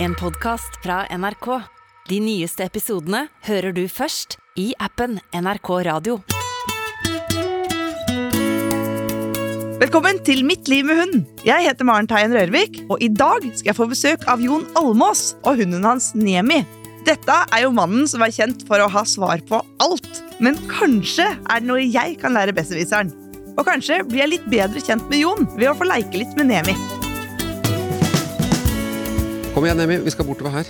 En podcast fra NRK. De nyeste episodene hører du først i appen NRK Radio. Velkommen til Mitt liv med hund. Jeg heter Maren Teien Rørvik, og i dag skal jeg få besøk av Jon Almås og hunden hans Nemi. Dette er jo mannen som er kjent for å ha svar på alt, men kanskje er det noe jeg kan lære besserwisseren. Og kanskje blir jeg litt bedre kjent med Jon ved å få leike litt med Nemi. Kom igjen, Emil. Vi skal bortover her.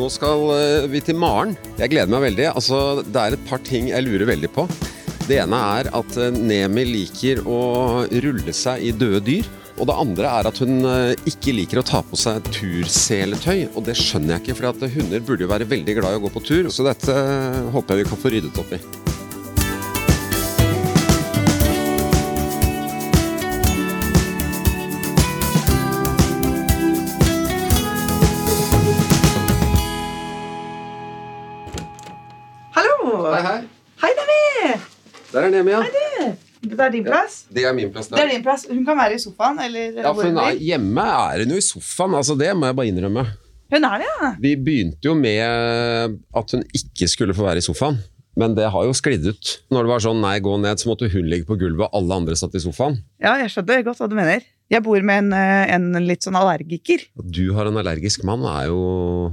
Nå skal eh, vi til Maren. Jeg gleder meg veldig. Altså, det er et par ting jeg lurer veldig på. Det ene er at eh, Nemi liker å rulle seg i døde dyr. Og det andre er at hun eh, ikke liker å ta på seg turseletøy. Og det skjønner jeg ikke, for hunder burde jo være veldig glad i å gå på tur. Så dette eh, håper jeg vi kan få ryddet opp i. Hallo! Hei, hei. Hei, Nemi! Der er Nemi, ja. Det er din plass. Det er min plass. Det er din plass. Hun kan være i sofaen eller Ja, for hvor hun hun er, vil. hjemme er hun jo i sofaen. Altså, det må jeg bare innrømme. Hun er det, ja. Vi begynte jo med at hun ikke skulle få være i sofaen, men det har jo sklidd ut. Når det var sånn nei, gå ned, så måtte hun ligge på gulvet, og alle andre satt i sofaen. Ja, jeg skjønner godt hva du mener. Jeg bor med en, eh, en litt sånn allergiker. At du har en allergisk mann er jo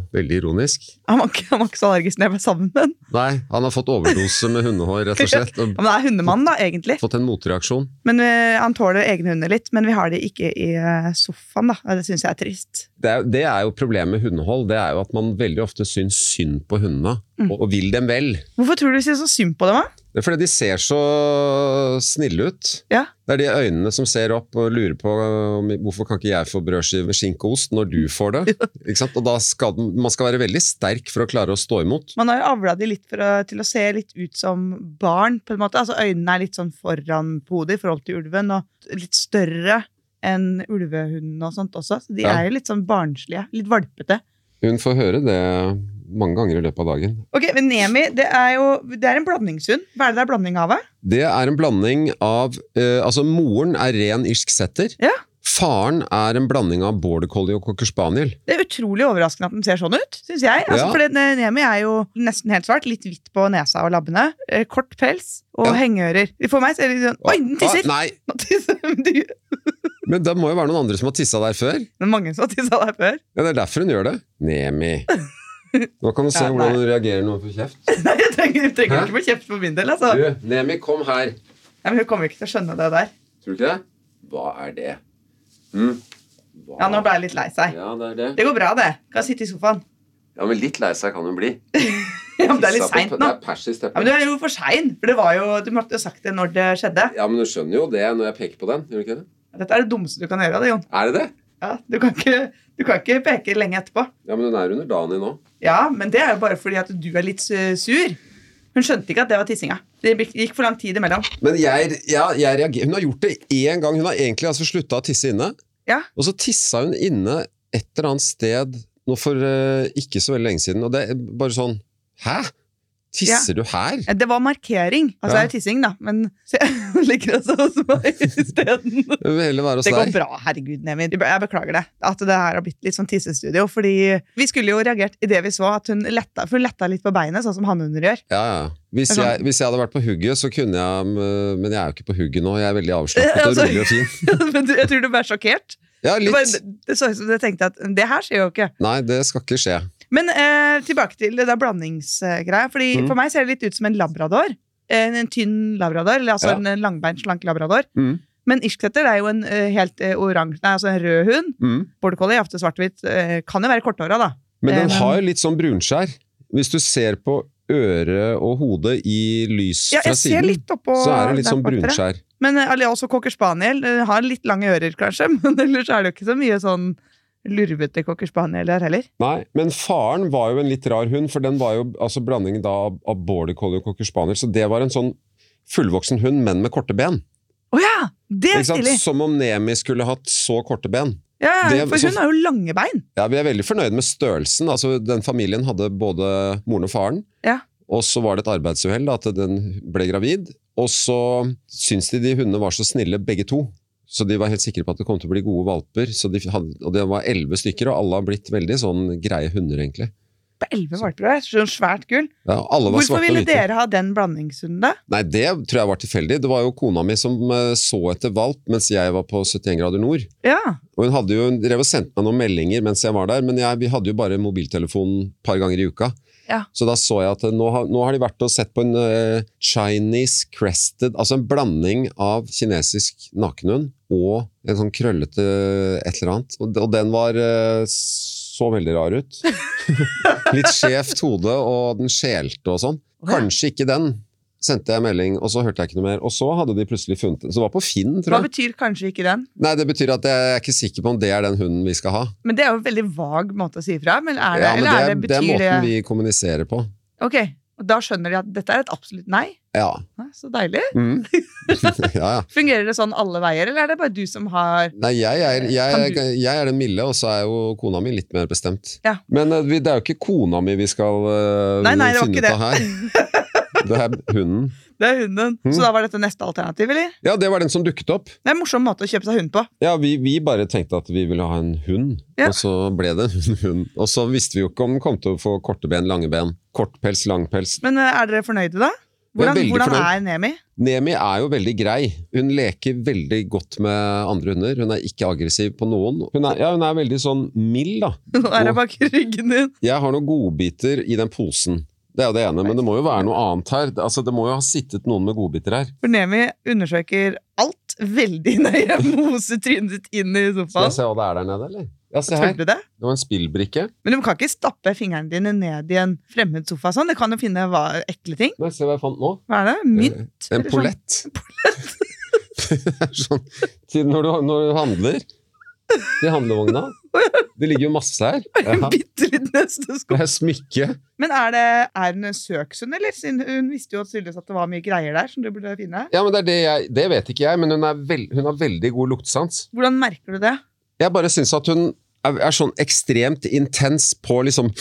veldig ironisk. Han var ikke, han var ikke så allergisk når jeg ble sammen med han. Nei, han har fått overdose med hundehår, rett og slett. Ja, Og men det er hundemannen, da, egentlig. fått en motreaksjon. Men eh, Han tåler egne hunder litt, men vi har de ikke i eh, sofaen. da. Det syns jeg er trist. Det er, det er jo problemet med hundehold. Det er jo at man veldig ofte syns synd på hundene, og, og vil dem vel. Hvorfor tror du vi ser så synd på dem? da? Det er fordi de ser så snille ut. Ja. Det er de øynene som ser opp og lurer på eh, om, hvorfor kan ikke jeg få brødskive, skinke og ost når du får det. Ikke sant? Og da skal, den- man skal være veldig sterk for å klare å stå imot. Man har jo avla de litt for å, til å se litt ut som barn. på en måte. Altså Øynene er litt sånn foran på hodet i forhold til ulven, og litt større enn ulvehunden og sånt også. Så de Ja. er jo litt sånn barnslige. Litt valpete. Hun får høre det mange ganger i løpet av dagen. Ok, men Nemi det er jo det er en blandingshund. Hva er det det er blanding av? da? Det er en blanding av eh, Altså, moren er ren irsk setter. Ja. Faren er en blanding av border collie og cocker spaniel. Det er utrolig overraskende at den ser sånn ut, syns jeg. Altså, Ja. For den, eh, Nemi er jo nesten helt svart. Litt hvitt på nesa og labbene. eh, Kort pels og Ja. hengeører. For meg ser det sånn Oi, den tisser! Ah, nei, Nå tisser men du- Det men det må jo være noen andre som har tissa der før. er mange som har tissa der før. Ja, det er derfor hun gjør det. Nemi. Nå kan du se Ja, nei. hvordan hun reagerer når hun får kjeft. Nei, jeg trenger, jeg trenger Hæ? ikke få kjeft for min del, altså. Du, Nemi, kom her. Nei, men hun kommer ikke til å skjønne det der. Tror du ikke det? Hva er det? Hm? Hva- Ja, nå ble jeg litt lei seg. Ja, det er det. Det går bra, det. Kan sitte i sofaen. Ja, men litt lei seg kan hun bli. Ja, men det er litt Pissa på- seint nå. Det er pers i Ja, men steppen. Du er jo for sein, for det var jo, du måtte jo sagt det når det skjedde. Ja, men du skjønner jo det når jeg peker på den. Gjør du ikke det? Dette er det dummeste du kan gjøre, det, Jon. Er det det? Ja, du, kan ikke, du kan ikke peke lenge etterpå. Ja, men hun er under dagen din nå. Ja, men det er jo bare fordi at du er litt eh, sur. Hun skjønte ikke at det var tissinga. Det gikk- gikk for lang tid imellom. Men jeg, ja, jeg reagerer. Hun har gjort det én gang. Hun har egentlig altså slutta å tisse inne. Ja. Og så tissa hun inne et eller annet sted nå for eh, ikke så veldig lenge siden. Og det er bare sånn Hæ? Tisser du her? Eh, Det var markering. Altså, det Ja. er jo tissing, da, men så jeg ligger altså hos meg isteden. Jeg vil heller være hos Det går deg. bra, herregud, Nemi. Jeg beklager det. At det her har blitt litt sånn tissestudio. Fordi vi skulle jo reagert idet vi så at hun letta, for hun letta litt på beinet, sånn som hannhunder gjør. Ja, ja. Hvis, Det er jeg, hvis jeg hadde vært på hugget, så kunne jeg mm, Men jeg er jo ikke på hugget nå. Jeg er veldig avslappet og Altså- rolig og fin. men du- jeg tror du ble sjokkert. Ja, Det, bare, litt. det så ut som du tenkte at det her skjer jo ikke. Nei, det skal ikke skje. Men eh, tilbake til det der blandingsgreia. Fordi Mhm. For meg ser det litt ut som en labrador. Eh, En, en tynn labrador, eller altså Ja. en langbeint, slank labrador. Mhm. Men irsksetter er jo en eh, helt eh, oransje, nei, altså en rød hund. Mm. Border collie, ofte svart-hvitt. eh, kan jo være korthåra, da. Men Eh, den men- har jo litt sånn brunskjær. Hvis du ser på øret og hodet i lys Ja, fra jeg ser siden, litt oppå så er det litt der sånn bak dere. brunskjær. Men eh, alle- også cocker spaniel. eh, har litt lange ører, kanskje, men ellers er det jo ikke så mye sånn lurvete cocker spaniel der heller. Nei, men faren var jo en litt rar hund, for den var jo altså blanding da av av border collie og cocker spaniel, så det var en sånn fullvoksen hund, men med korte ben. Å ja! Det er Ikke sant? stilig! Som om Nemi skulle hatt så korte ben. Ja, ja, Det- sånn for så- hun har jo lange bein. Ja, Vi er veldig fornøyd med størrelsen. Altså, den Familien hadde både moren og faren. Ja. Og så var det et arbeidsuhell da, at den ble gravid. Og så syns de de hundene var så snille, begge to. Så de var helt sikre på at det kom til å bli gode valper. Så de hadde, og det var elleve stykker, og alle har blitt veldig sånn greie hunder, egentlig. På elleve valper og sånn svært gull. Ja, og alle var Hvorfor svarte og ville hvite. dere ha den blandingshunden, da? Nei, det tror jeg var tilfeldig. Det var jo kona mi som eh, så etter valp mens jeg var på 71 grader nord. Ja. Og hun hadde jo, hun drev og sendte meg noen meldinger mens jeg var der, men jeg, vi hadde jo bare mobiltelefonen et par ganger i uka. Ja. Så da så jeg at eh, nå har, nå har de vært og sett på en eh, Chinese crested, altså en blanding av kinesisk nakenhund og en sånn krøllete et eller annet. Og, og den var eh, så veldig rar ut. Litt skjevt hode, og den skjelte og sånn. Kanskje ikke den, sendte jeg melding, og så hørte jeg ikke noe mer. Og så hadde de plutselig funnet den. Så det var på Finn, tror jeg. Hva betyr kanskje ikke den? Nei, det betyr at jeg er ikke sikker på om det er den hunden vi skal ha. Men det er jo en veldig vag måte å si ifra. Men er det, ja, men eller er det, det er betyr det måten vi kommuniserer på. Ok, og da skjønner de at dette er et absolutt nei. Ja. Nei, Så deilig. Mm. ja, ja. Fungerer det sånn alle veier, eller er det bare du som har Nei, jeg er, jeg, Kan du- jeg er den milde, og så er jo kona mi litt mer bestemt. Ja. Men eh, vi- det er jo ikke kona mi vi skal eh, Nei, nei, det var finne ikke ut av her. Det er hunden. Det er hunden. Mm. Så da var dette neste alternativ, eller? Ja, det var den som dukket opp. Det er en morsom måte å kjøpe seg hund på. Ja, vi, vi bare tenkte at vi ville ha en hund, Ja. og så ble det en hund. Og så visste vi jo ikke om den kom til å få korte ben, lange ben. Kortpels, langpels. Men eh, er dere fornøyde, da? Vi er Hvordan, veldig hvordan fornøyd. er Nemi? Nemi er jo veldig grei. Hun leker veldig godt med andre hunder. Hun er ikke aggressiv på noen. Hun er, ja, hun er veldig sånn mild, da. Nå er jeg bak ryggen din. Jeg har noen godbiter i den posen. Det er jo det ene, men det må jo være noe annet her. Altså, det må jo ha sittet noen med godbiter her. For Nemi undersøker alt veldig nøye. Moser trynet ditt inn i Skal jeg sofaen. se hva det er der nede, eller? Ja, se Tør her. du det? Det var en spillbrikke. Men du kan ikke stappe fingrene dine ned i en fremmed sofa sånn. Det kan jo finne hva, ekle ting. Nei, se hva jeg fant nå. Hva er det? Mynt? Eh, En eller sånn? pollett. Det er sånn til når du, når du handler. Til handlevogna. Det ligger jo masse her. Ja. Bitte litt neste sko. Det er smykke. Men er, det, er hun en søksund, eller? Siden hun visste jo tydeligvis at det var mye greier der som du burde finne. Ja, men det, er det, jeg, det vet ikke jeg, men hun, er vel, hun har veldig god luktesans. Hvordan merker du det? Jeg bare syns at hun er, er sånn ekstremt intens på liksom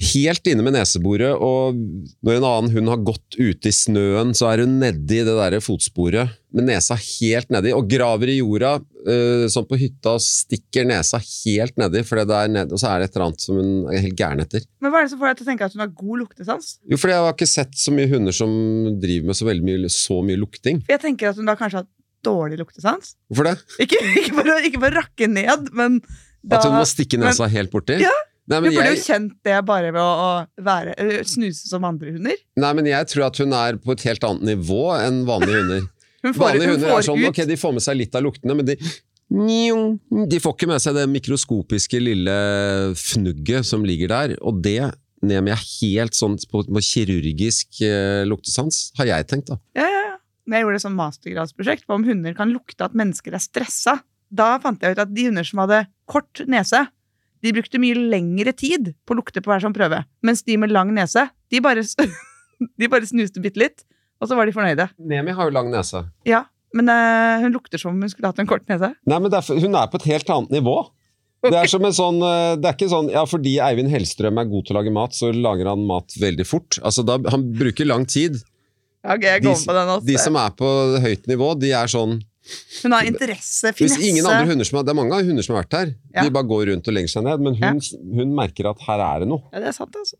Helt inne med neseboret, og når en annen hund har gått ute i snøen, så er hun nedi det der fotsporet med nesa helt nedi, og graver i jorda, eh, sånn på hytta, og stikker nesa helt nedi, for det der ned, og så er det et eller annet som hun er helt gæren etter. Men hva er det som får deg til å tenke at hun har god luktesans? Jo, for jeg har ikke sett så mye hunder som driver med så veldig mye, så mye lukting. For jeg tenker at hun da kanskje har hatt dårlig luktesans. Hvorfor det? Ikke, ikke, for, å- ikke for å rakke ned, men da At hun må Hun stikke nesa helt borti? Ja. Nei, men burde jo jeg, kjent det bare ved å, å være, eller snuse som andre hunder. nei, men jeg tror at hun er på et helt annet nivå enn vanlige hunder. Hun får, Vanlige hun hunder får er sånn, ut ok, de får med seg litt av luktene, men de de får ikke med seg det mikroskopiske lille fnugget som ligger der, og det Nemi er helt sånn på, på kirurgisk eh, luktesans, har jeg tenkt da. Ja, ja, ja. Når jeg gjorde et sånt mastergradsprosjekt på om hunder kan lukte at mennesker er stressa, da fant jeg ut at de hunder som hadde kort nese, de brukte mye lengre tid på å lukte på hver sånn prøve. Mens de med lang nese, de bare, s- de bare snuste bitte litt, og så var de fornøyde. Nemi har jo lang nese. Ja, men eh, hun lukter som om hun skulle hatt en kort nese. Nei, men derfor, hun er på et helt annet nivå. Det er som en sånn, eh, det er ikke sånn, ja, fordi Eivind Hellstrøm er god til å lage mat, så lager han mat veldig fort. Altså, da, han bruker lang tid. Ja, Ok, jeg De går s- på den også. De som er på høyt nivå, de er sånn, Hun har interesse, Hvis finesse. ingen andre hunder som har, Det er mange hunder som har vært her. Ja. De bare går rundt og legger seg ned. Men hun, hun merker at her er det noe. Ja, det er sant, altså.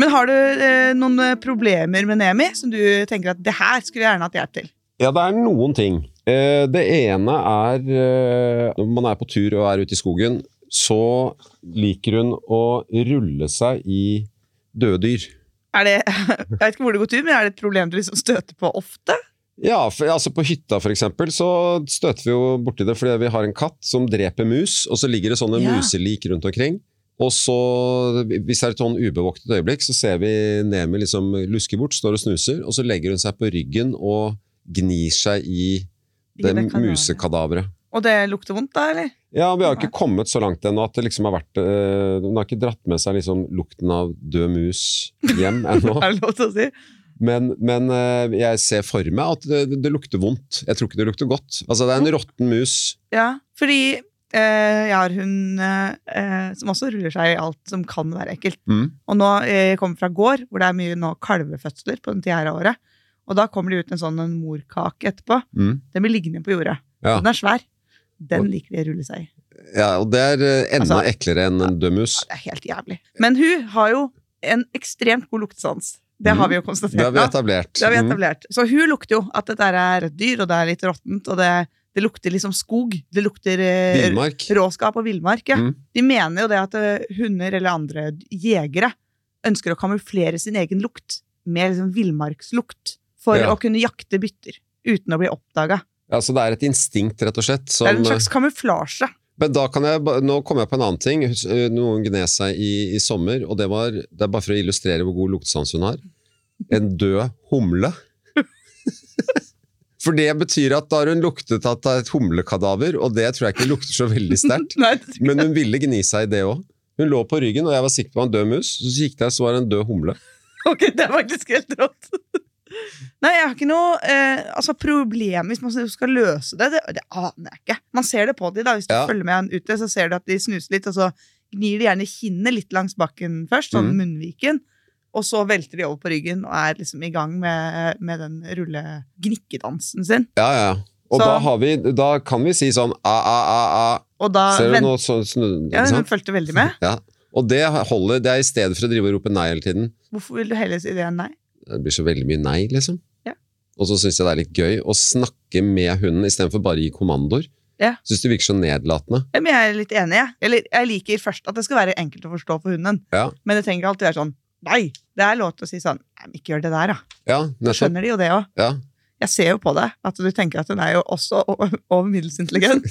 Men har du eh, noen eh, problemer med Nemi som du tenker at det her skulle jeg gjerne hatt hjelp til? Ja, det er noen ting. Eh, det ene er eh, Når man er på tur og er ute i skogen, så liker hun å rulle seg i døde dyr. Er det, jeg vet ikke hvor det går tur, men er det et problem du liksom støter på ofte? Ja, for, altså På hytta for eksempel, så støter vi jo borti det fordi vi har en katt som dreper mus, og så ligger det sånne Ja. muselik rundt omkring. Og så, hvis det er et sånn ubevoktet øyeblikk, så ser vi Nemi liksom luske bort, står og snuser, og så legger hun seg på ryggen og gnir seg i det Livet kan være. musekadaveret. Og det lukter vondt da, eller? Ja, vi har ikke kommet så langt ennå at det liksom har vært eh, Hun har ikke dratt med seg liksom lukten av død mus hjem ennå. Er det lov til å si? Men, men eh, jeg ser for meg at det, det lukter vondt. Jeg tror ikke det lukter godt. Altså, det er en råtten mus. Ja, fordi Eh, jeg har hun eh, eh, som også ruller seg i alt som kan være ekkelt. Mm. Og nå eh, jeg kommer fra gård, hvor det er mye nå kalvefødsler på den tida her av året. Og da kommer det ut en sånn en morkake etterpå. Mm. Den blir liggende på jordet. Ja. Den er svær. Den Og- liker de å rulle seg i. ja, og det er eh, enda Altså- eklere enn en død mus. Det er helt jævlig. Men hun har jo en ekstremt god luktesans. Det har vi jo konstatert. Mm. Det har vi nå. etablert. Det har vi Mm. etablert. Så hun lukter jo at dette er et dyr, og det er litt råttent, og det, det lukter liksom skog. Det lukter eh, Villmark. råskap og villmark. Ja. Mm. De mener jo det at eh, hunder eller andre jegere ønsker å kamuflere sin egen lukt med liksom villmarkslukt for Ja. å kunne jakte bytter uten å bli oppdaga. Ja, så det er et instinkt, rett og slett. Det Som, eh, er en slags kamuflasje. Men da kan jeg, ba- nå kom jeg på en annen ting. Hus- eh, Noen gned seg i, i sommer, og det var det er bare for å illustrere hvor god luktesans hun har. En død humle. For det betyr at da har hun luktet at det er et humlekadaver, og det tror jeg ikke lukter så veldig sterkt. Nei, det- Men hun ville gni seg i det òg. Hun lå på ryggen, og jeg var sikker på at det var en død mus. Så gikk jeg, så var det en død humle. Ok, det er faktisk helt rått. Nei, jeg har ikke noe eh, altså problem hvis man skal løse det. Det, det aner jeg ikke. Man ser det på de da, Hvis du Ja. følger med han ute, så ser du at de snuser litt, og så gnir de gjerne kinnet litt langs bakken først, sånn Mhm. munnviken. Og så velter de over på ryggen og er liksom i gang med, med den rulle-gnikkedansen sin. Ja, ja, ja. Og Så- da, har vi, da kan vi si sånn a, a, a, a. Og da Ser du Ah, vent- nå sånn snu... ja, ikke Hun sant? fulgte veldig med. Ja. Og det holder, det er i stedet for å drive og rope nei hele tiden. Hvorfor vil du heller si det enn nei? Det blir så veldig mye nei, liksom. Ja. Og så syns jeg det er litt gøy å snakke med hunden istedenfor bare å gi kommandoer. Ja. Syns det virker så nedlatende. Ja, Men jeg er litt enig, jeg. Eller jeg liker først at det skal være enkelt å forstå for hunden. Ja. Men det trenger ikke alltid være sånn Nei! Det er lov til å si sånn Nei, men ikke gjør det der, da. Ja, nettopp. Skjønner de jo det òg. Ja. Jeg ser jo på deg at du tenker at hun er jo også o- over middels intelligent.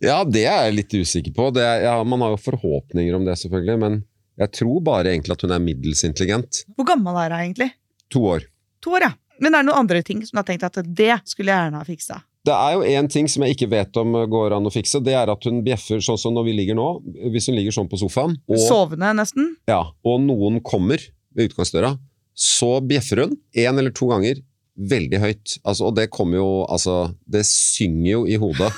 ja, det er jeg litt usikker på. Det er, ja, man har jo forhåpninger om det, selvfølgelig, men jeg tror bare egentlig at hun er middels intelligent. Hvor gammel er hun egentlig? To år. To år, ja. Men er det noen andre ting som du har tenkt at det skulle jeg gjerne ha fiksa? Det er jo én ting som jeg ikke vet om eh, går an å fikse. Det er at hun bjeffer sånn som når vi ligger nå. Hvis hun ligger sånn på sofaen, og Sovende, nesten? Ja, og noen kommer ved utgangsdøra, så bjeffer hun en eller to ganger veldig høyt. Altså, og det kommer jo Altså, det synger jo i hodet.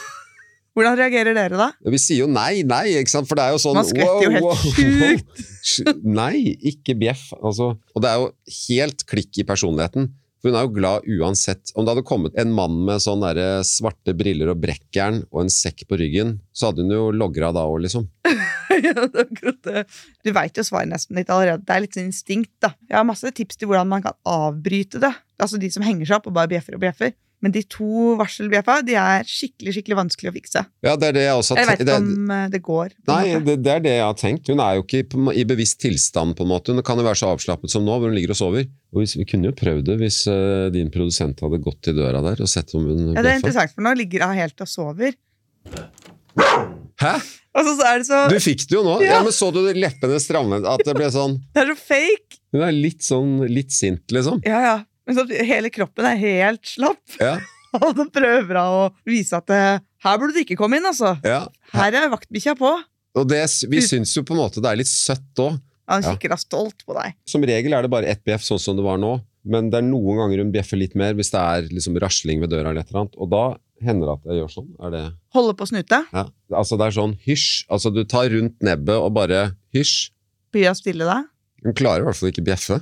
Hvordan reagerer dere da? Vi sier jo nei, nei, ikke sant? for det er jo sånn Man skvetter jo helt sjukt. sjukt! Nei, ikke bjeff. Altså. Og det er jo helt klikk i personligheten. For hun er jo glad uansett. Om det hadde kommet en mann med sånn derre svarte briller og brekkjern og en sekk på ryggen, så hadde hun jo logra da òg, liksom. Ja, det er akkurat det. du veit jo svaret nesten litt allerede. Det er litt sånn instinkt, da. Jeg har masse tips til hvordan man kan avbryte det. Altså de som henger seg opp og bare bjeffer og bjeffer. Men de to varselbjeffa de er skikkelig skikkelig vanskelig å fikse. Ja, det er det jeg også har Jeg veit det- ikke om eh, det går. på en Nei, måte. det, det er det jeg har tenkt. Hun er jo ikke på en må- i bevisst tilstand, på en måte. Hun kan jo være så avslappet som nå, hvor hun ligger og sover. Og hvis, vi kunne jo prøvd det hvis eh, din produsent hadde gått til døra der og sett om hun ja, det er bleffa. interessant, for nå ligger hun helt og sover. Hæ? Altså, så er det, så, Du fikk det jo nå! Ja, Ja. men så du leppene stramme At det ble sånn det er så fake! Hun er litt sånn litt sint, liksom. Ja, ja. Men så, hele kroppen er helt slapp. Ja. Og så prøver hun å vise at eh, her burde du ikke komme inn, altså. ja. Her er vaktbikkja på. Og det, s- vi syns jo på en måte det er litt søtt òg. Han Ja. kikker da stolt på deg. Som regel er det bare ett bjeff, sånn som det var nå. Men det er noen ganger hun bjeffer litt mer hvis det er liksom rasling ved døra eller et eller annet. Og da hender det at jeg gjør sånn. Er det Holder på å snute. Ja. Altså, det er sånn hysj. Altså, du tar rundt nebbet og bare hysj. Blir hun stille da? Hun klarer i hvert fall ikke bjeffe.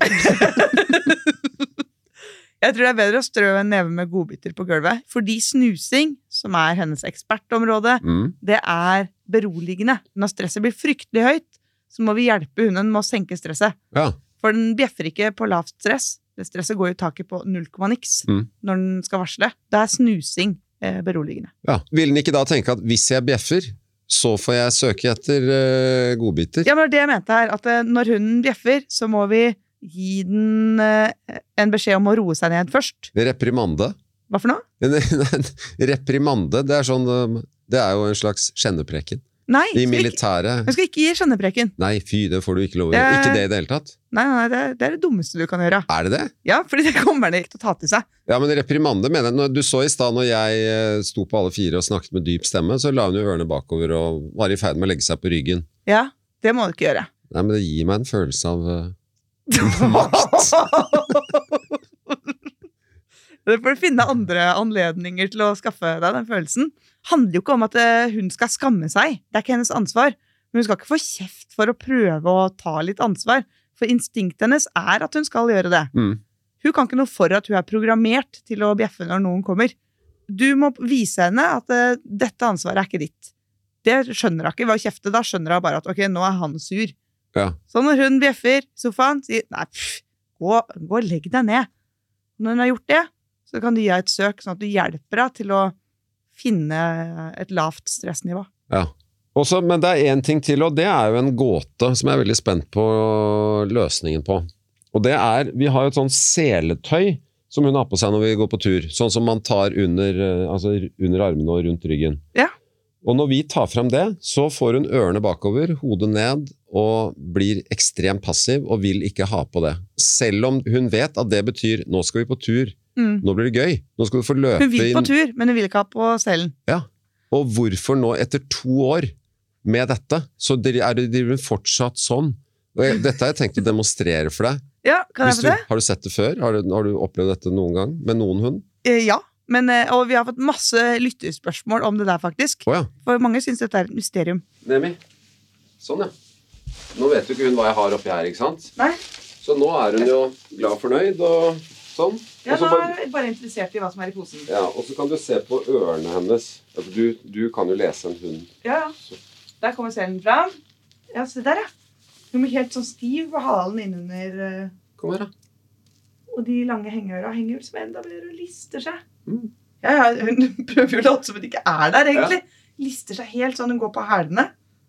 Jeg tror det er bedre å strø en neve med godbiter på gulvet. Fordi snusing, som er hennes ekspertområde, Mm. det er beroligende. Når stresset blir fryktelig høyt, så må vi hjelpe hunden med å senke stresset. Ja. For den bjeffer ikke på lavt stress. Det stresset går jo i taket på null komma niks Mm. når den skal varsle. Da er snusing eh, beroligende. ja. Vil den ikke da tenke at hvis jeg bjeffer, så får jeg søke etter eh, godbiter? Ja, men det var det jeg mente her, at eh, når hunden bjeffer, så må vi gi den eh, en beskjed om å roe seg ned først. Reprimande. Hva for noe? En, en reprimande, det er sånn um, Det er jo en slags skjennepreken. Nei, I skal ikke, militæret jeg skal ikke gi skjønnepreken. Nei, fy, det får du ikke lov å gjøre. Det- Ikke det i det hele tatt. Nei, nei, det, det er det dummeste du kan gjøre. Er det det? Ja, fordi det kommer han ikke til å ta til seg. Ja, men reprimande mener jeg. Når Du så i stad når jeg eh, sto på alle fire og snakket med dyp stemme, så la hun jo ørene bakover og var i ferd med å legge seg på ryggen. Ja, det må du ikke gjøre. Nei, men det gir meg en følelse av eh, Makt! Du får finne andre anledninger til å skaffe deg den følelsen. handler jo ikke om at eh, hun skal skamme seg. Det er ikke hennes ansvar. Men hun skal ikke få kjeft for å prøve å ta litt ansvar. For instinktet hennes er at hun skal gjøre det. Mm. Hun kan ikke noe for at hun er programmert til å bjeffe når noen kommer. Du må vise henne at eh, dette ansvaret er ikke ditt. Det skjønner hun ikke ved å kjefte. Da skjønner hun bare at ok, nå er han sur. Ja. Så når hun bjeffer i sofaen, sier nei, pff, gå, gå og legg deg ned. Når hun har gjort det, så kan du gi henne et søk, sånn at du hjelper henne til å finne et lavt stressnivå. Også, men det er én ting til, og det er jo en gåte som jeg er veldig spent på løsningen på. Og det er Vi har jo et sånn seletøy som hun har på seg når vi går på tur. Sånn som man tar under, eh, altså, under armene og rundt ryggen. Ja. Og når vi tar frem det, så får hun ørene bakover, hodet ned, og blir ekstremt passiv og vil ikke ha på det. Selv om hun vet at det betyr 'nå skal vi på tur', Mm. nå blir det gøy, nå skal du få løpe Hun vil på inn tur, men hun vil ikke ha på selen. og hvorfor nå, etter to år med dette, så dri- er det- driver hun fortsatt sånn? Og jeg, dette har jeg tenkt å demonstrere for deg. Ja, kan jeg få Hvis du, det? har du sett det før? Har du, har du opplevd dette noen gang med noen hund? Eh, ja. Men, eh, og vi har fått masse lytterspørsmål om det der, faktisk. Å ja. For mange syns dette er et mysterium. Nemi. Sånn, ja. Nå vet jo ikke hun hva jeg har oppi her, ikke sant? Nei, Så nå er hun jo glad fornøyd og sånn. jeg er bare interessert i hva som er i posen. kan du se på ørene hennes. Altså, Du, kan jo lese en hund. Ja, ja. Der kommer selen fram. Ja, se der, ja. Hun blir helt sånn stiv på halen innunder. eh, Kom her, da. Og de lange hengeøra henger ut som enda bedre og lister seg. Mm. Ja, ja, Hun prøver jo å late som hun ikke er der, egentlig. Lister seg helt sånn hun går på hælene.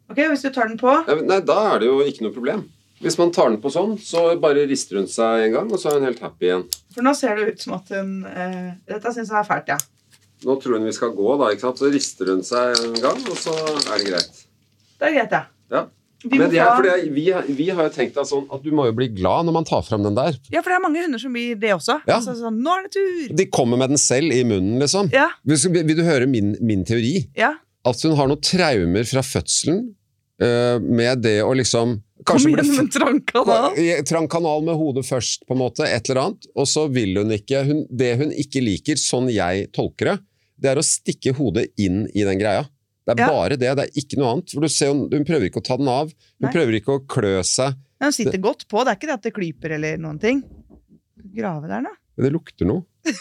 Ok, og Hvis du tar den på Ja, men Nei, da er det jo ikke noe problem. Hvis man tar den på sånn, så bare rister hun seg en gang, og så er hun helt happy igjen. For nå ser det ut som at hun eh, Dette syns jeg er fælt, ja. Nå tror hun vi skal gå, da, ikke sant? så rister hun seg en gang, og så er det greit. Det er greit, ja. Ja. Vi må Men det er, ta- fordi jeg- vi, vi har jo tenkt at, sånn, at du må jo bli glad når man tar fram den der. ja, for det er mange hunder som blir det også. Ja. Altså sånn, Nå er det tur! De kommer med den selv i munnen, liksom. Ja, Vil, du- vil du høre min, min teori? ja. At hun har noen traumer fra fødselen eh, med det å liksom Kom Kanskje igjen bli med en trankanal. I trang kanal med hodet først, på en måte, et eller annet. Og så vil hun ikke hun, Det hun ikke liker, sånn jeg tolker det, det er å stikke hodet inn i den greia. Det er Ja. bare det, det er ikke noe annet. For du ser, hun, hun prøver ikke å ta den av. Hun Nei. prøver ikke å klø seg. Den sitter godt på. Det er ikke det at det klyper eller noen ting. Grave der, nå. Men det lukter noe.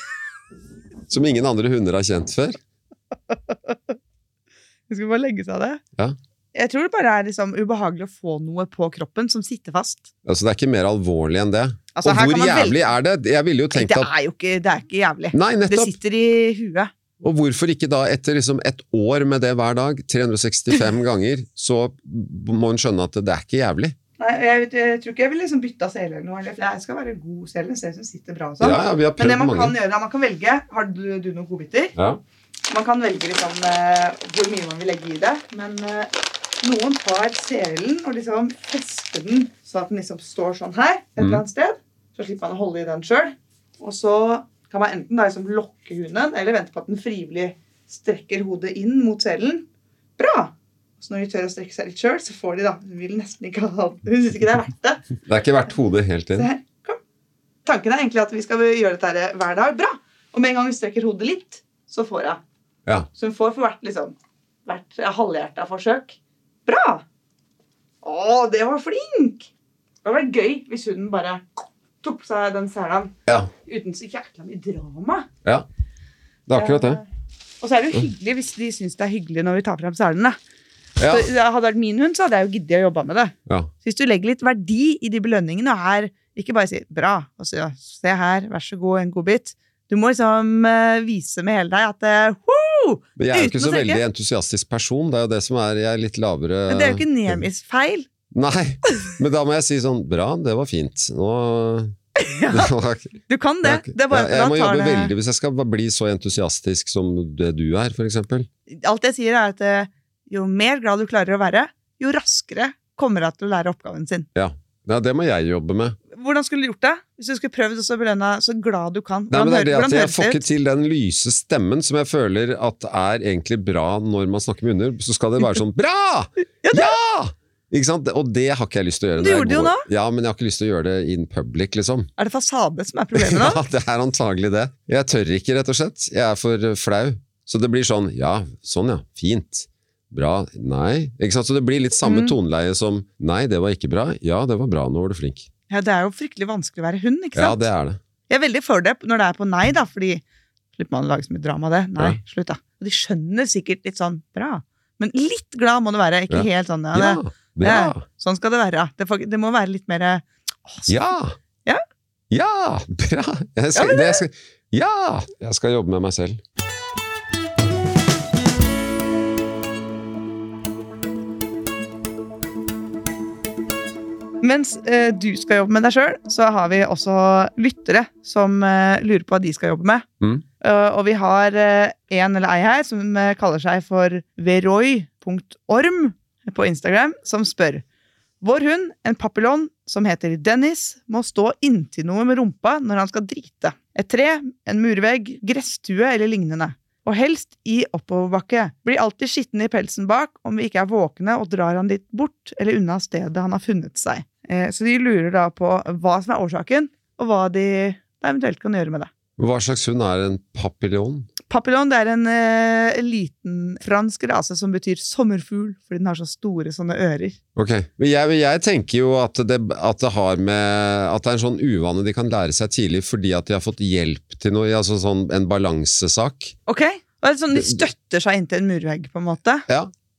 Som ingen andre hunder har kjent før. Hun skulle bare legge seg av det. Ja. Jeg tror det bare er liksom ubehagelig å få noe på kroppen som sitter fast. Altså, det er ikke mer alvorlig enn det. Altså, og her kan hvor man velge- jævlig er det? Jeg ville jo Nei, tenkt Det at er jo ikke, det er ikke jævlig. Nei, Det nettopp! sitter i huet. Og hvorfor ikke da, etter liksom et år med det hver dag, 365 ganger, så må hun skjønne at det er ikke jævlig. Nei, jeg, vet- jeg tror ikke jeg ville liksom bytta sele eller noe. eller- for Jeg skal være god sele, sele som sitter bra. og sånn. Ja, ja, vi Men har det prøvd man mange. kan gjøre, er man kan velge Har du, du noen godbiter? Ja. Man kan velge liksom, eh, hvor mye man vil legge i det, men eh, noen tar selen og liksom fester den sånn at den liksom står sånn her et Mm. eller annet sted. Så slipper man å holde i den sjøl. Og så kan man enten da liksom lokke hunden eller vente på at den frivillig strekker hodet inn mot selen. Bra! Så når de tør å strekke seg litt sjøl, så får de da. Hun vil nesten ikke ha Hun syns ikke det er verdt det. Det er ikke verdt hodet helt Se inn. her. Kom. Tanken er egentlig at vi skal gjøre dette her hver dag. Bra. Og med en gang vi strekker hodet litt, så får jeg. Ja. Så hun får for hvert, liksom, hvert halvhjerta forsøk. Bra! Å, det var flink! Det hadde vært gøy hvis hun bare tok på seg den selen Ja. uten så jækla mye drama. ja. Det er akkurat det. Og så er det jo hyggelig hvis de syns det er hyggelig når vi tar fram selene. Ja. Så Hadde det vært min hund, så hadde jeg jo giddet å jobbe med det. ja. Så hvis du legger litt verdi i de belønningene og her, ikke bare si 'bra', og så ja, 'se her, vær så god, en godbit'. Du må liksom eh, vise med hele deg at eh, «Woo!» Men jeg er jo Uten ikke å så tenke. veldig entusiastisk person. Det er jo det som er Jeg er litt lavere Men det er jo Eh, ikke Nemis feil. Nei. Men da må jeg si sånn Bra, det var fint. Nå Det var ikke- Du kan det. det det var ikke- er bare Ja, at jeg da må tar jobbe det... veldig hvis jeg skal bli så entusiastisk som det du er, for eksempel. Alt jeg sier, er at eh, jo mer glad du klarer å være, jo raskere kommer hun til å lære oppgaven sin. Nei, det må jeg jobbe med. Hvordan skulle du gjort det? Hvis du skulle prøvd å belønne så glad du kan? Nei, Hvordan men det er det hører- at hvordan Jeg høres får det ikke til den lyse stemmen som jeg føler at er egentlig bra når man snakker med hunder. Så skal det være sånn Bra! Ja! Ikke sant? Og det har ikke jeg lyst til å gjøre. Du når jeg gjorde det jo går- Ja, men jeg har ikke lyst til å gjøre det in public, liksom. Er det fasade som er problemet nå? Ja, det er antagelig det. Jeg tør ikke, rett og slett. Jeg er for eh, flau. Så det blir sånn Ja, sånn ja. Fint. Bra. Nei. Ikke sant? Så det blir litt samme Mm. toneleie som Nei, det var ikke bra. Ja, det var bra. Nå var du flink. Ja, det er jo fryktelig vanskelig å være hund, ikke Ja, sant? det er det. Jeg er veldig for det når det er på nei, da, fordi slipper man å lage så mye drama av det. Nei, Ja. slutt, da. Og de skjønner sikkert litt sånn bra. Men litt glad må du være. Ikke Ja. helt sånn. Ja, Ja, det, bra. Sånn skal det være. Det, får- det må være litt mer eh, «Åh, så- Ja. Ja. Ja, bra. Jeg Ja, skal, det, jeg skal, ja! Jeg skal jobbe med meg selv. Mens eh, du skal jobbe med deg sjøl, så har vi også lyttere som eh, lurer på hva de skal jobbe med. Mm. Eh, og vi har eh, en eller ei her som eh, kaller seg for veroy.orm på Instagram, som spør Vår hund, en papillon som heter Dennis, må stå inntil noe med rumpa når han skal drite. Et tre, en murvegg, gresstue eller lignende. Og helst i oppoverbakke. Blir alltid skitten i pelsen bak om vi ikke er våkne og drar han litt bort eller unna stedet han har funnet seg. Eh, Så de lurer da på hva som er årsaken, og hva de da eventuelt kan gjøre med det. Hva slags hund er en papillon? Papillon det er en eh, liten fransk rase som betyr sommerfugl, fordi den har så store sånne ører. Ok, men jeg, men jeg tenker jo at det, at det har med At det er en sånn uvane de kan lære seg tidlig fordi at de har fått hjelp til noe, altså sånn en balansesak. Ok? Og det er sånn, De støtter seg inntil en murvegg, på en måte.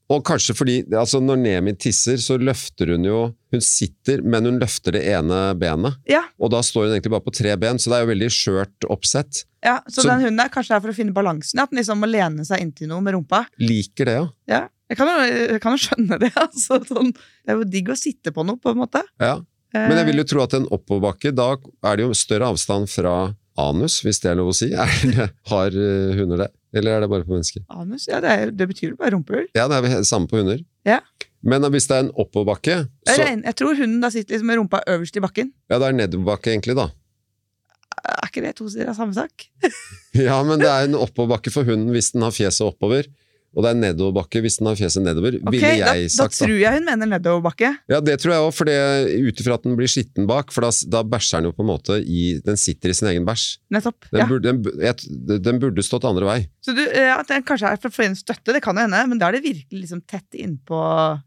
Og kanskje fordi altså Når Nemi tisser, så løfter hun jo Hun sitter, men hun løfter det ene benet. Ja. Og da står hun egentlig bare på tre ben, så det er jo veldig skjørt oppsett. Ja, så, Så- den hunden der kanskje er for å finne balansen, at den liksom må lene seg inntil noe med rumpa. Liker det, ja. Ja, Jeg kan jo, jeg kan jo skjønne det. altså. Sånn, det er jo digg å sitte på noe, på en måte. ja. Men Eh. jeg vil jo tro at en oppoverbakke, da er det jo større avstand fra anus, hvis det er lov å si. Er det, har eh, hunder det? Eller er det bare på mennesker? Eh, Anus, ja, det, er, det betyr jo bare rumpehull. Ja, det er vel samme på hunder. Ja. Men eh, hvis det er en oppoverbakke, Jeg, så regner- jeg tror hunden da sitter liksom med rumpa øverst i bakken. Ja, det er nedoverbakke, egentlig, da. Er ikke det to sider av samme sak? Ja, men det er en oppoverbakke for hunden hvis den har fjeset oppover. Og det er en nedoverbakke hvis den har fjeset nedover, Ok, ville da, jeg da sagt. Da. tror jeg hun mener nedoverbakke. Ja, det tror jeg òg, for det- ut ifra at den blir skitten bak, for da, da bæsjer den jo på en måte i Den sitter i sin egen bæsj. Nettopp. Den, ja. burde, den, bu- jeg, den burde stått andre vei. Så du, eh, at den kanskje er for for en støtte, det kan jo hende, men da er det virkelig liksom tett innpå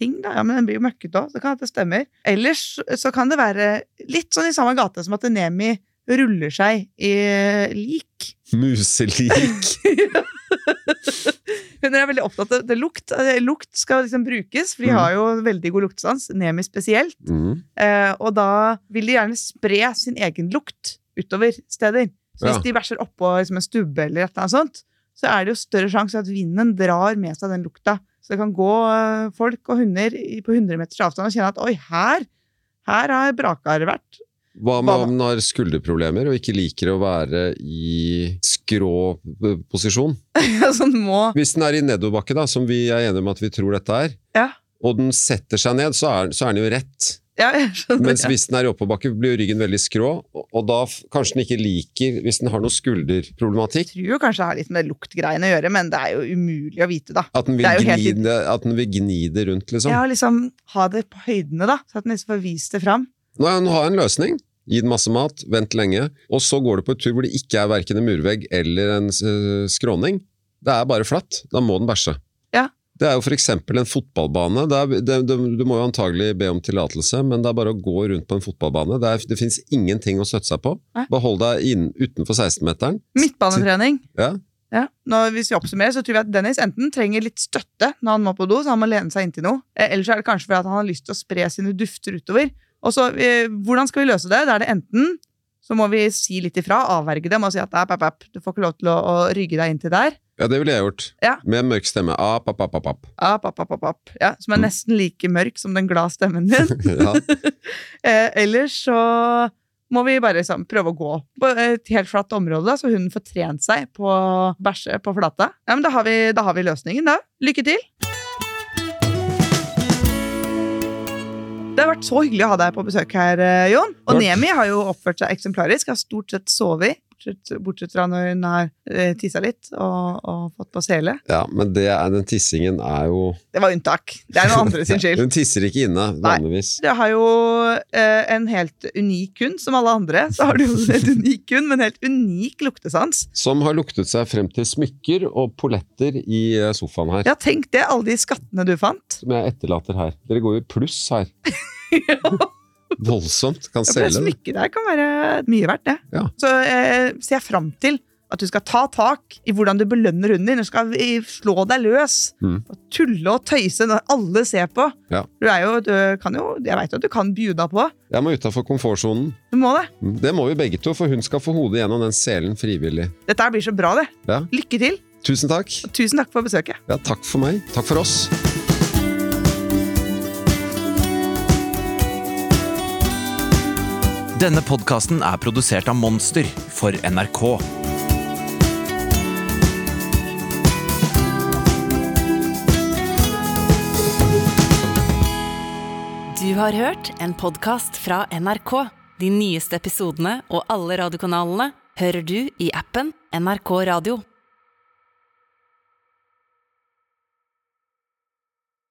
ting, da. Ja, men den blir jo møkket òg, så det kan hende det stemmer. Ellers så kan det være litt sånn i samme gate som at Nemi ruller seg i lik. Muselik. Hunder er veldig opptatt av det lukt. Eh, Lukt skal liksom brukes, for de har jo veldig god luktesans, Nemi spesielt. Mm. Eh, og da vil de gjerne spre sin egen lukt utover steder. Så hvis Ja. de bæsjer oppå liksom en stubbe, eller et eller annet sånt, så er det jo større sjanse at vinden drar med seg den lukta. Så det kan gå eh, folk og hunder i- på 100 meters avstand og kjenne at oi, her, her har brakar vært. Hva med Hva da? om den har skulderproblemer og ikke liker å være i skrå eh, posisjon? sånn må Hvis den er i nedoverbakke, da, som vi er enige om at vi tror dette er, Ja. og den setter seg ned, så er, så er den jo rett. Ja, jeg skjønner. Mens hvis den er i oppoverbakke, blir jo ryggen veldig skrå, og, og da f- kanskje den ikke liker Hvis den har noe Jeg skulderproblematikk, tror jo kanskje det har litt med luktgreiene å gjøre, men det er jo umulig å vite, da. at den vil, Det er jo helt gni det, at den vil gni det rundt, liksom. Ja, liksom ha det på høydene, da, så at den liksom får vist det fram. Nå har den har en løsning. Gi den masse mat, vent lenge, og så går du på et tur hvor det ikke er verken en murvegg eller en eh, skråning. Det er bare flatt. Da må den bæsje. Ja. Det er jo f.eks. en fotballbane. Det er, det, det, du må jo antagelig be om tillatelse, men det er bare å gå rundt på en fotballbane. Det, er, det fins ingenting å støtte seg på. Nei. Bare hold deg inn, utenfor 16-meteren. Midtbanetrening. Ja. Ja. Nå, hvis vi oppsummerer, så tror vi at Dennis enten trenger litt støtte når han må på do, så han må lene seg inntil noe. Eh, Eller så er det kanskje fordi at han har lyst til å spre sine dufter utover. Og så, eh, Hvordan skal vi løse det? Da er det enten så må vi si litt ifra, avverge dem og si at «App, app, app, du får ikke lov til å, å rygge deg inntil der. Ja, det ville jeg gjort. Ja. Med mørk stemme. Ah, Ap, ap, ap, ap, ap. App, app, app, app, app. Ja, som er Mm. nesten like mørk som den glade stemmen din. Ja. Eh, ellers så må vi bare liksom prøve å gå på et helt flatt område, da, så hunden får trent seg på å bæsje på flata. Ja, men da har, vi, da har vi løsningen, da. Lykke til! Det har vært så hyggelig å ha deg på besøk her, eh, Jon. Og Takk. Nemi har jo oppført seg eksemplarisk. Har stort sett sovet, bortsett, bortsett fra når hun har eh, tissa litt og, og fått på sele. Ja, men det er, den tissingen er jo Det var unntak. Det er noen andre sin skyld. Hun tisser ikke inne, Nei. vanligvis. Det har jo eh, en helt unik hund, som alle andre. Så har du jo en helt unik hund, men helt unik luktesans. Som har luktet seg frem til smykker og polletter i eh, sofaen her. Ja, tenk det, alle de skattene du fant. Som jeg etterlater her. Dere går jo i pluss her. Ja. Voldsomt. Kan Ja, for det selge det. smykket der kan være mye verdt, det. Ja. Så eh, ser jeg fram til at du skal ta tak i hvordan du belønner hunden din. Du skal eh, slå deg løs Mm. og tulle og tøyse når alle ser på. Ja. Du er jo, du kan jo, jeg veit at du kan bjuda på. Jeg må utafor komfortsonen. Du må det. Mm, Det må vi begge to, for hun skal få hodet gjennom den selen frivillig. Dette her blir så bra, det. Ja. Lykke til. Tusen takk. Tusen takk for besøket. Ja, takk for meg. Takk for oss. Denne podkasten er produsert av Monster for NRK. Du har hørt en podkast fra NRK. De nyeste episodene og alle radiokanalene hører du i appen NRK Radio.